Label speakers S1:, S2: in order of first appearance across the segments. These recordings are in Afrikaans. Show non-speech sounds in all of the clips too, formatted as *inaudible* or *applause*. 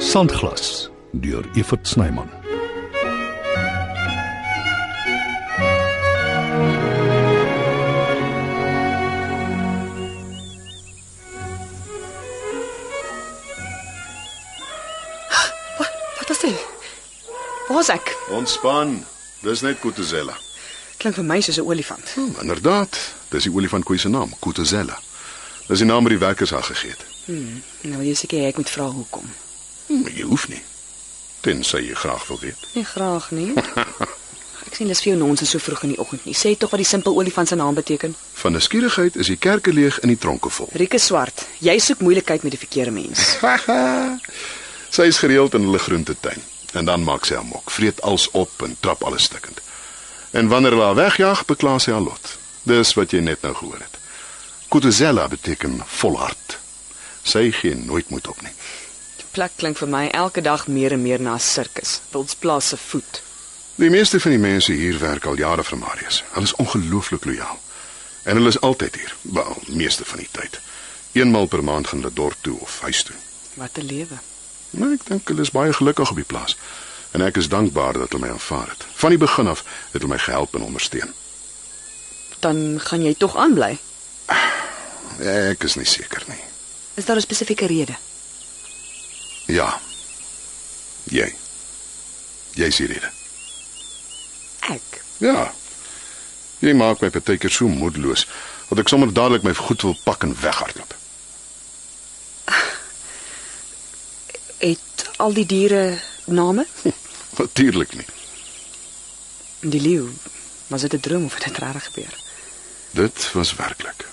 S1: Sandglas deur Evert Snyman.
S2: Wat is dit? Waar's ek?
S3: Ontspan. Dis net Kutuzela.
S2: Klink vir my soos 'n olifant.
S3: Hmm, inderdaad, dis die olifantkoei se naam, Kutuzela. Dis die naam wat die werkers haar gegee het.
S2: Nou wil jy seker hê ek moet vra hoekom.
S3: Hmm, jy hoef nie. Tensy jy graag wil weet.
S2: Nee, graag nie. *laughs* Ek sien dis vir jou nonsens so vroeg in die oggend nie. Sê tog wat die simpel olifant se naam beteken.
S3: Van nuuskierigheid is die kerke leeg en die tronke vol.
S2: Rieke Swart, jy soek moeilikheid met die verkeerde mens.
S3: *laughs* Sy is gereeld in hulle groentetuin en dan maak sy hom mok, vreet alles op en trap alles stikkend. En wanneer hulle haar wegjaag, bekla sy haar lot. Dis wat jy net nou gehoor het. Kutuzela beteken volhard. Sy gee nooit moed op nie.
S2: *laughs* Die plek klink vir my elke dag meer en meer na 'n sirkus. Wildsplaas se voet.
S3: Die meeste van die mense hier werk al jare vir Marius. Hulle is ongelooflik lojaal. En hulle is altyd hier, wel, meeste van die tyd. Eenmal per maand gaan hulle dorp toe of huis toe.
S2: Wat 'n lewe.
S3: Maar Nee, ek dink hulle is baie gelukkig op die plaas. En ek is dankbaar dat hulle my aanvaar het. Van die begin af het hulle my gehelp en ondersteun.
S2: Dan gaan jy tog aanbly.
S3: Ek is nie seker nie.
S2: Is daar 'n spesifieke rede?
S3: Ja. Jy. Jy sê dit.
S2: Ek.
S3: Ja. Jy maak my baie keer so moedeloos dat ek sommer dadelik my goed wil pak en weghardloop.
S2: Het al die diere name?
S3: Natuurlik nie.
S2: *laughs* Die leeu. Was dit 'n droom of het dit regtig gebeur?
S3: Dit was werklik.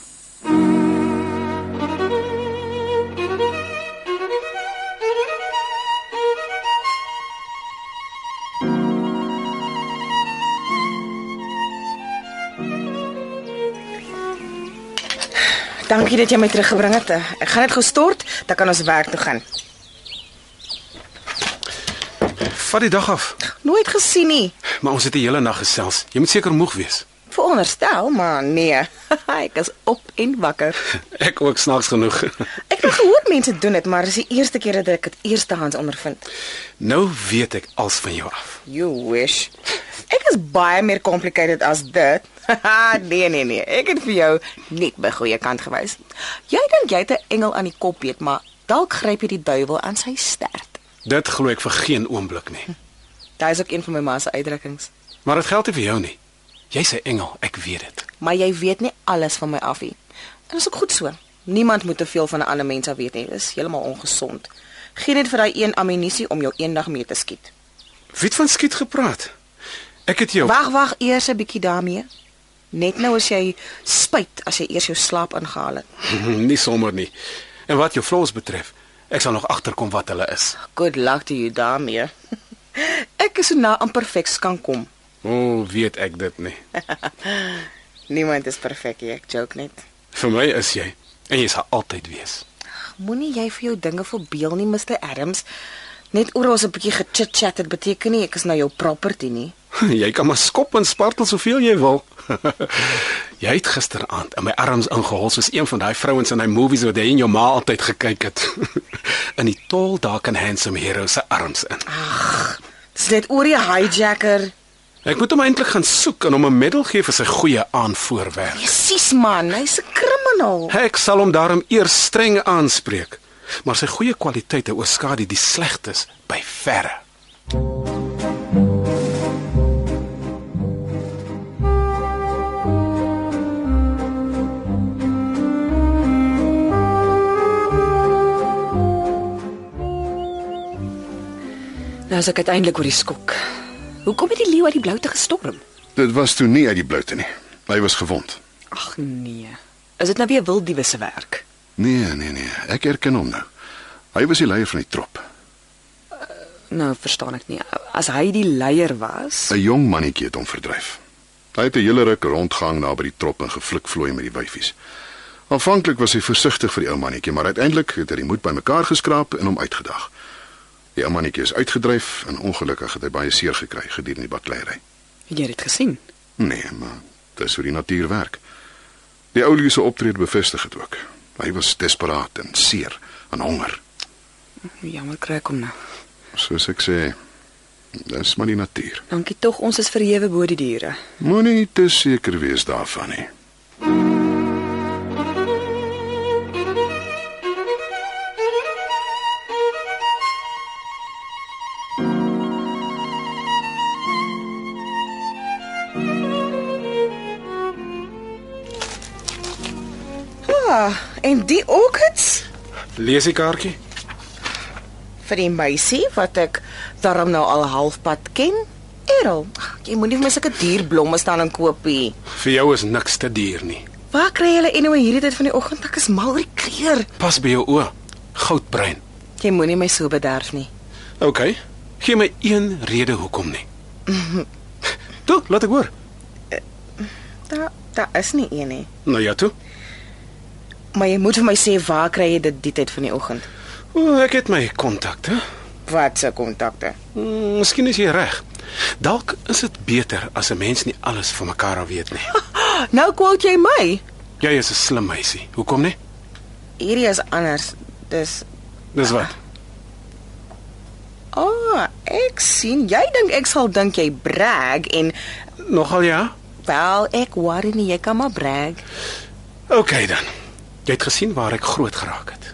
S4: Dankie dat jy my teruggebring het. Ek gaan dit gestort, dan kan ons werk toe gaan.
S5: Vat die dag af.
S4: Nooit gesien nie.
S5: Maar ons het die hele nag gesels. Jy moet seker moeg wees.
S4: Veronderstel, maar nee. *laughs* ek is op en wakker.
S5: Ek ook snaaks genoeg. *laughs*
S4: Ek het gehoor mense doen dit, maar dis die eerste keer dat ek dit eerstehands ondervind.
S5: nou weet ek als van jou af.
S4: You wish. Ek is baie meer complicated as dit. *laughs* nee nee nee, ek het vir jou net by goeie kant gewys. Jy dink jy het 'n engel aan die kop weet, maar dalk gryp jy die duiwel aan sy stert.
S5: Dit glo ek vir geen oomblik nie.
S4: Dit is ook een van my ma se uitdrukkings.
S5: Maar dit geld nie vir jou nie. Jy's 'n engel, ek weet dit.
S4: maar jy weet nie alles van my af nie. En dit is ook goed so. Niemand moet te veel van 'n ander mens af weet nie. Dit is heeltemal ongesond. Geen net vir daai een ammunisie om jou eendag mee te skiet.
S5: Wie het van skiet gepraat? Ek het jou
S4: Wag, wag eers 'n bietjie daarmee. Net nou as jy spyt as jy eers jou slaap ingehaal het.
S5: *laughs* nie sommer nie. En wat jou vloos betref, ek sal nog agterkom wat hulle is.
S4: Good luck to you daarmee. *laughs* Ek is so nou aan perfek kan kom.
S5: O, oh, weet ek dit nie.
S4: Niemand is perfek nie, ek joke net.
S5: Vir my is jy en jy sal altyd wees.
S4: Moenie jy vir jou dinge verbeel nie, Mr. Adams. Net oor ons 'n bietjie gechit-chat het beteken nie ek is nou jou property nie.
S5: *laughs* Jy kan maar skop en spartel soveel jy wil. *laughs* jy het gisteraand in my arms ingehol soos een van daai vrouens in daai movies wat jy en jou ma altyd gekyk het. *laughs* in die tol daar kan handsome hero se arms in.
S4: Dis net oor die hijacker.
S5: Ek moet hom eintlik gaan soek en hom 'n middel gee vir sy goeie aanvoorwerk.
S4: Presies man, hy's 'n kriminaal.
S5: Ek sal hom daarom eers streng aanspreek, maar sy goeie kwaliteite oorskadu die slegtes by verre.
S2: Nou is ek uiteindelik oor die skok. Hoekom het die leeu uit die bloute gestorm?
S3: Dit was toe nie uit die bloute nie. Hy was gewond.
S2: Ag nee. Is dit nou weer wilddiewe se werk?
S3: Nee, nee, nee. Ek herken hom nou. Hy was die leier van die trop.
S2: Nou verstaan ek nie. As hy die leier was,
S3: 'n Jong mannetjie het hom verdryf. Hy het 'n hele ruk rondgehang naby die trop en geflikvloei met die wyfies. Aanvanklik was hy versigtig vir die ou mannetjie, maar uiteindelik het hy die moed bymekaar geskraap en hom uitgedag. Die ou mannetjie is uitgedryf en ongelukkig het hy baie seer gekry gedurende die bakleierery.
S2: het jy dit gesien?
S3: Nee, maar dis hoe die natuur werk. Die ou leeu se optrede bevestig dit ook. Hy was desperaat en seer en honger.
S2: Jammer kry ek hom nou.
S3: Soos ek sê, dis maar die natuur.
S2: Dankie tog, ons is verhewe bo die diere.
S3: Moenie te seker wees daarvan nie.
S4: Ah, en die orchids
S5: Lees die kaartjie.
S4: vir die meisie wat ek daarom nou al halfpad ken. Errol, ag, jy moenie vir my sulke duur blomme staan en koop nie.
S5: Vir jou is niks te duur nie.
S4: Waar kry jy hulle anyway hierdie tyd van die oggend? Ek is mal oor die kleur.
S5: Pas by jou oë. Goudbrein.
S4: Jy moenie my so bederf nie.
S5: OK. Gee my een rede hoekom nie. Toe, laat ek hoor.
S4: Daar daar is nie een nie.
S5: Nou ja, toe.
S4: Maar jy moet vir my sê waar kry jy dit die tyd van die oggend?
S5: O, ek het my kontakte.
S4: Wat se kontakte?
S5: Mm, Miskien is jy reg. Dalk is dit beter as 'n mens nie alles van mekaar af weet nie.
S4: Nou quote jy my.
S5: Jy is 'n slim meisie. Hoekom nie?
S4: Hierdie is anders. Dis
S5: Dis wat.
S4: O, oh, ek sien jy dink ek sal dink jy brag en
S5: Nogal ja.
S4: wel ek worry nie jy kan maar brag.
S5: OK dan. Jy het gesien waar ek groot geraak het.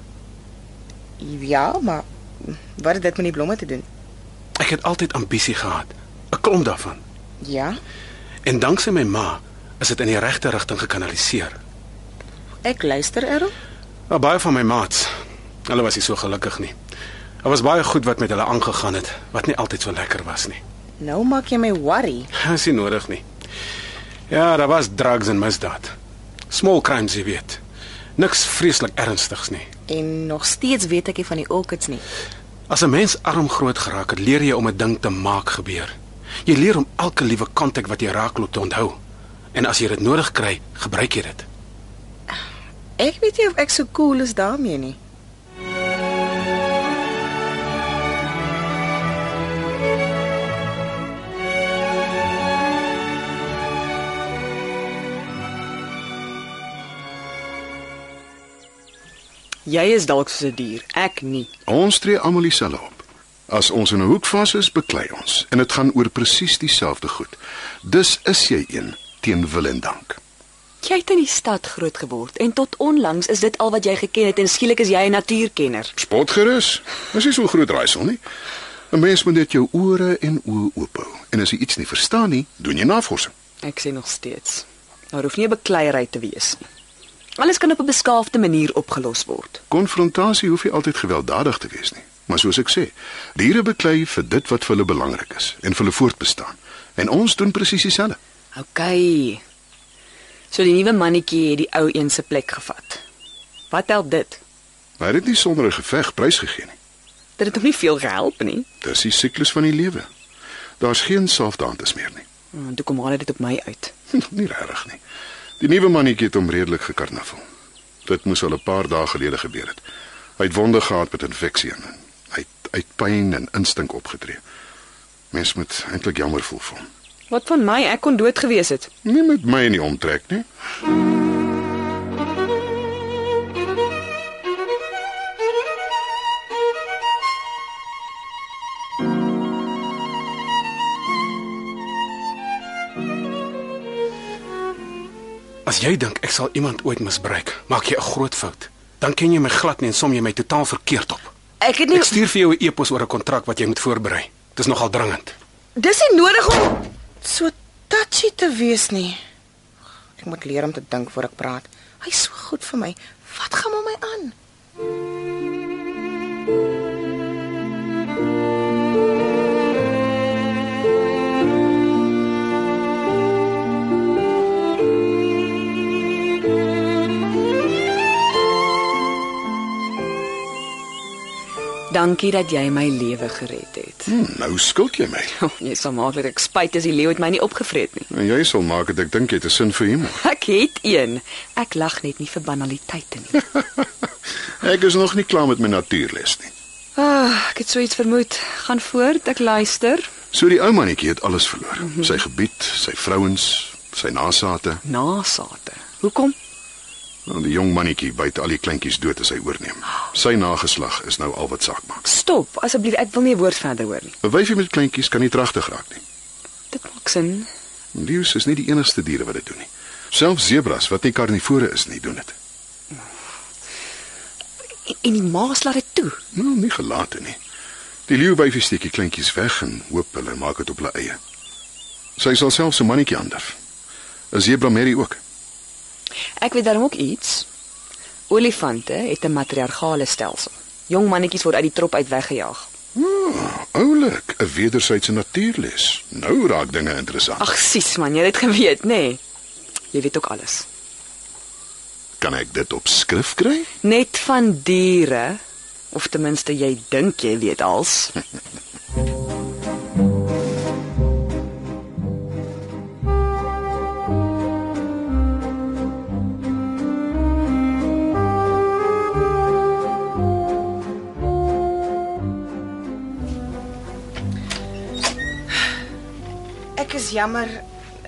S4: Ja, maar wat het dit met die blomme te doen?
S5: Ek het altyd ambisie gehad, 'n klomp daarvan.
S4: Ja,
S5: En danksy my ma is dit in die regte rigting gekanaliseer.
S4: ek luister Errol.
S5: Maar Ja, baie van my maats, hulle was nie so gelukkig nie. Daar was baie goed wat met hulle aangegaan het wat nie altyd so lekker was nie. *laughs*
S4: Nou maak jy my worry.
S5: Dit is nie nodig nie. Ja, daar was drugs en misdaad. Small crimes, jy weet. Niks vreeslik ernstigs nie.
S4: En nog steeds weet ek nie van die orchids nie.
S5: As 'n mens arm groot geraak het, leer jy om 'n ding te maak gebeur. Jy leer om elke liewe kontak wat jy raakloop te onthou. En as jy dit nodig kry, gebruik jy dit.
S4: Ek weet nie of ek so cool is daarmee nie.
S2: Jy is dalk soos 'n dier, ek nie.
S3: Ons tree almal dieselfde op. As ons in 'n hoek vas is, beklei ons en dit gaan oor presies dieselfde goed. Dus is jy een teen wil en dank.
S2: Jy het in die stad grootgeword en tot onlangs is dit al wat jy geken het en skielik is jy 'n natuurkenner.
S3: Spot gerus. Dis nie so 'n groot raaisel nie. 'n Mens moet net jou ore en oë oop hou. En as jy iets nie verstaan nie, doen jy navorsing.
S2: Ek sê nog steeds, daar hoef nie 'n bekleierery te wees nie. Alles kan op 'n beskaafde manier opgelos word.
S3: Konfrontasie hoef nie altyd gewelddadig te wees nie. Maar soos ek sê, diere beklei vir dit wat vir hulle belangrik is en vir hulle voortbestaan. En ons doen presies dieselfde.
S2: OK. So die nuwe mannetjie het die ou een se plek gevat. Wat help dit?
S3: Maar dit is nie sonder 'n geveg prysgegee nie.
S2: Dit het hom nie veel gehelp nie.
S3: Dis die siklus van die lewe. Daar's geen selfdaantes meer nie. *laughs*
S2: En Ah, toe kom hulle dit op my uit.
S3: nie regtig nie. Die nuwe mannetjie het hom redelik gekarnaval. Dit moes al 'n paar dae gelede gebeur het. Hy het wonde gehad met infeksie en hy het uit pyn en instink opgetree. Mens moet eintlik jammer voel vir hom.
S2: Wat van my? Ek kon dood gewees het.
S3: Nie met my in die omtrek nie.
S5: As jy dink ek sal iemand ooit misbruik, maak jy 'n groot fout. Dan ken jy my glad nie en som jy my totaal verkeerd op.
S4: Ek het nie
S5: Ek stuur vir jou 'n e-pos oor 'n kontrak wat jy moet voorberei. Dis nogal dringend.
S4: dis nie nodig om so touchy te wees nie. Ek moet leer om te dink voor ek praat. Hy's so goed vir my. Wat gaan hom my aan?
S2: Dankie dat jy my lewe gered het.
S3: Hmm, nou skuld jy my.
S2: *laughs* Oh, jy sal maak dat ek spyt as die leeu het my nie opgevreet nie.
S3: En jy sal maak dat ek dink jy het 'n sin vir humor.
S2: Ek het een. Ek lag net nie vir banaliteite nie.
S3: Ek is nog nie klaar met my natuurles nie.
S2: *laughs* Ah, ek het so iets vermoed. Gaan voort, ek luister.
S3: So die ou mannetjie het alles verloor. Sy gebied, sy vrouens, sy nasate.
S2: Nasate. Hoekom?
S3: Nou, die jong mannetjie byt al die kleintjies dood as hy oorneem. Sy nageslag is nou al wat saak maak.
S2: Stop, asseblief, ek wil nie 'n woord verder hoor nie.
S3: 'n Wyfie met kleintjies kan nie dragtig raak nie.
S2: Dit maak sin.
S3: Leeu's is nie die enigste diere wat dit doen nie. Selfs sebras wat nie karnivore is nie, doen dit.
S2: En- En die maas laat dit toe.
S3: Nou, nie gelate nie. Die leeuwyfie steek die kleintjies weg en hoop hulle maak dit op hulle eie. Sy sal selfs 'n mannetjie ander. 'n Zebra merrie ook.
S2: Ek weet daarom ook iets. Olifante het 'n matriargale stelsel. Jong mannetjies word uit die trop uit weggejaag.
S3: Oh, oulik, 'n wederwysige natuurles. Nou raak dinge interessant.
S2: Ag, sies man, jy het dit geweet, nê? Nee. Jy weet ook alles.
S3: kan ek dit op skrif kry?
S2: Net van diere, of ten minste jy dink jy weet als.
S4: Ek is jammer.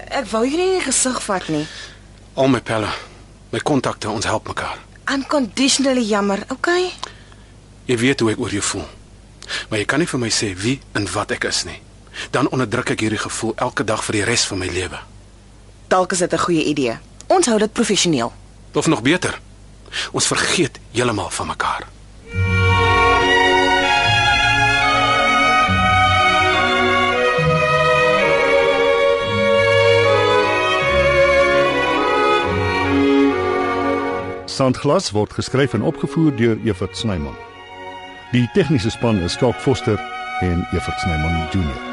S4: Ek wou jou nie in die gesig vat nie.
S5: Al my pelle, my kontakte, ons help mekaar.
S4: Unconditionally jammer. Okay.
S5: Jy weet hoe ek oor jou voel. Maar jy kan nie vir my sê wie en wat ek is nie. Dan onderdruk ek hierdie gevoel elke dag vir die res van my lewe.
S4: Dalk is dit 'n goeie idee. Ons hou dit professioneel.
S5: Of nog beter, ons vergeet heeltemal van mekaar.
S1: Sandglas word geskryf en opgevoer deur Evert Snyman. Die tegniese span is Skalk Foster en Evert Snyman Junior.